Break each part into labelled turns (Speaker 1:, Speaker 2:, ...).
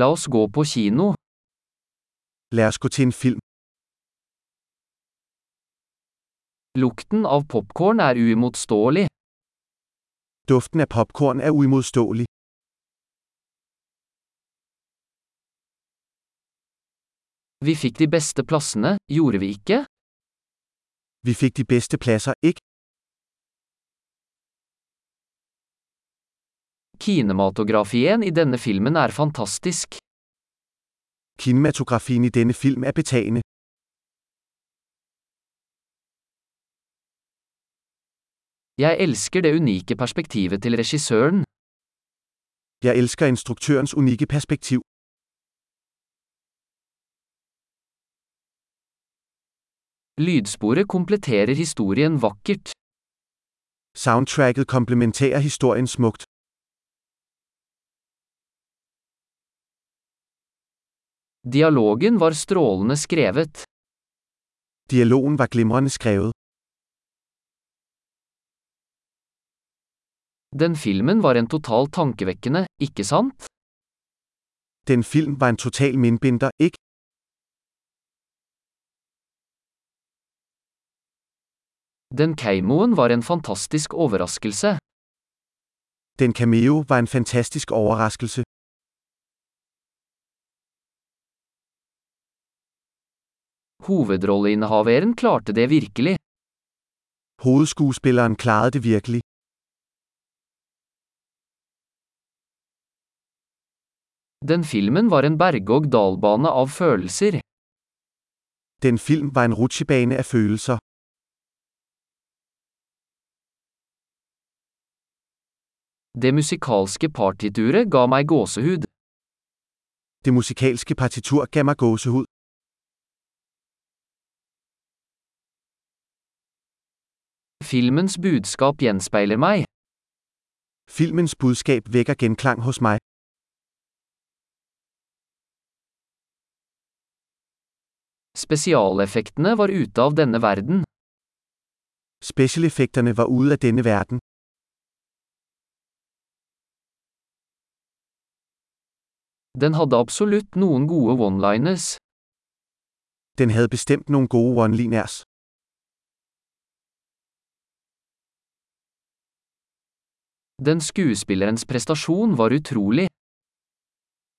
Speaker 1: La oss gå på kino.
Speaker 2: Lad os gå til en film.
Speaker 1: Lukten av popkorn er uimotståelig.
Speaker 2: Duften af popcorn er uimodståelig.
Speaker 1: Vi fikk de beste plassene, gjorde vi ikke?
Speaker 2: Vi fik de bedste pladser, ikke?
Speaker 1: Kinematografien i denne filmen er fantastisk.
Speaker 2: Kinematografien i denne film er betagende.
Speaker 1: Jeg elsker det unike perspektivet til regissøren.
Speaker 2: Jeg elsker instruktørens unikke perspektiv.
Speaker 1: Lydsporet kompletterer historien vakkert.
Speaker 2: Soundtracket komplementerer historien smukt.
Speaker 1: Dialogen var strålende skrevet.
Speaker 2: Dialogen var glimrende skrevet.
Speaker 1: Den filmen var en total tankevekkende, ikke sant?
Speaker 2: Den film var en total mindbinder, ikke?
Speaker 1: Den keimoen var en fantastisk overraskelse.
Speaker 2: Den cameo var en fantastisk overraskelse.
Speaker 1: Hovedrolleinnehaveren klarte det virkelig.
Speaker 2: Hovedskuespilleren klarede det virkelig.
Speaker 1: Den filmen var en berg-og-dal-bane av følelser.
Speaker 2: Den film var en rutsjebane af følelser.
Speaker 1: Det musikalske partituret ga meg gåsehud.
Speaker 2: Det musikalske partitur gav mig gåsehud.
Speaker 1: Filmens budskap gjenspeiler meg.
Speaker 2: Filmens budskab vækker genklang hos mig.
Speaker 1: Spesialeffektene var ute av denne verden.
Speaker 2: Specialeffekterne var ude af denne verden.
Speaker 1: Den hadde absolutt noen gode one-liners.
Speaker 2: Den havde bestemt nogle gode one-liners.
Speaker 1: Den skuespillerens prestasjon var utrolig.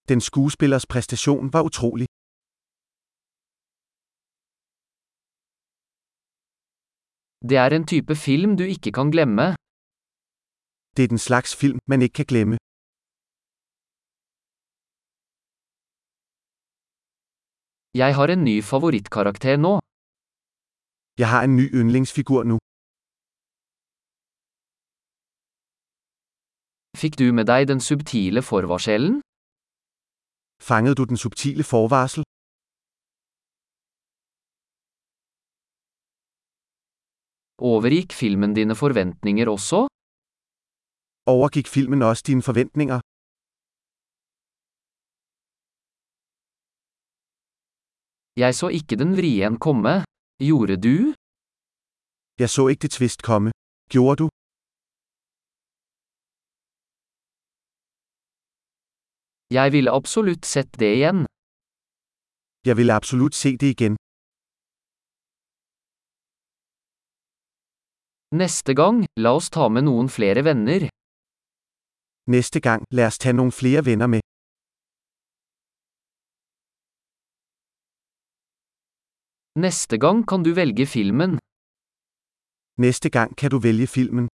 Speaker 2: Den skuespillers præstation var utrolig.
Speaker 1: Det er en type film du ikke kan glemme.
Speaker 2: Det er den slags film, man ikke kan glemme.
Speaker 1: Jeg har en ny favorittkarakter nå.
Speaker 2: Jeg har en ny yndlingsfigur nu.
Speaker 1: Fikk du med deg den subtile forvarselen?
Speaker 2: Fangede du den subtile forvarsel?
Speaker 1: Overgikk filmen dine forventninger også?
Speaker 2: Overgik filmen også dine forventninger?
Speaker 1: Jeg så ikke den vrien komme. Gjorde du?
Speaker 2: Jeg så ikke det tvist komme. Gjorde du?
Speaker 1: Jeg ville absolutt sett det igjen.
Speaker 2: Jeg ville absolut se det igen.
Speaker 1: Neste gang, la oss ta med noen flere venner.
Speaker 2: Næste gang, lad os tage nogle flere venner med.
Speaker 1: Neste gang kan du velge filmen.
Speaker 2: Næste gang kan du vælge filmen.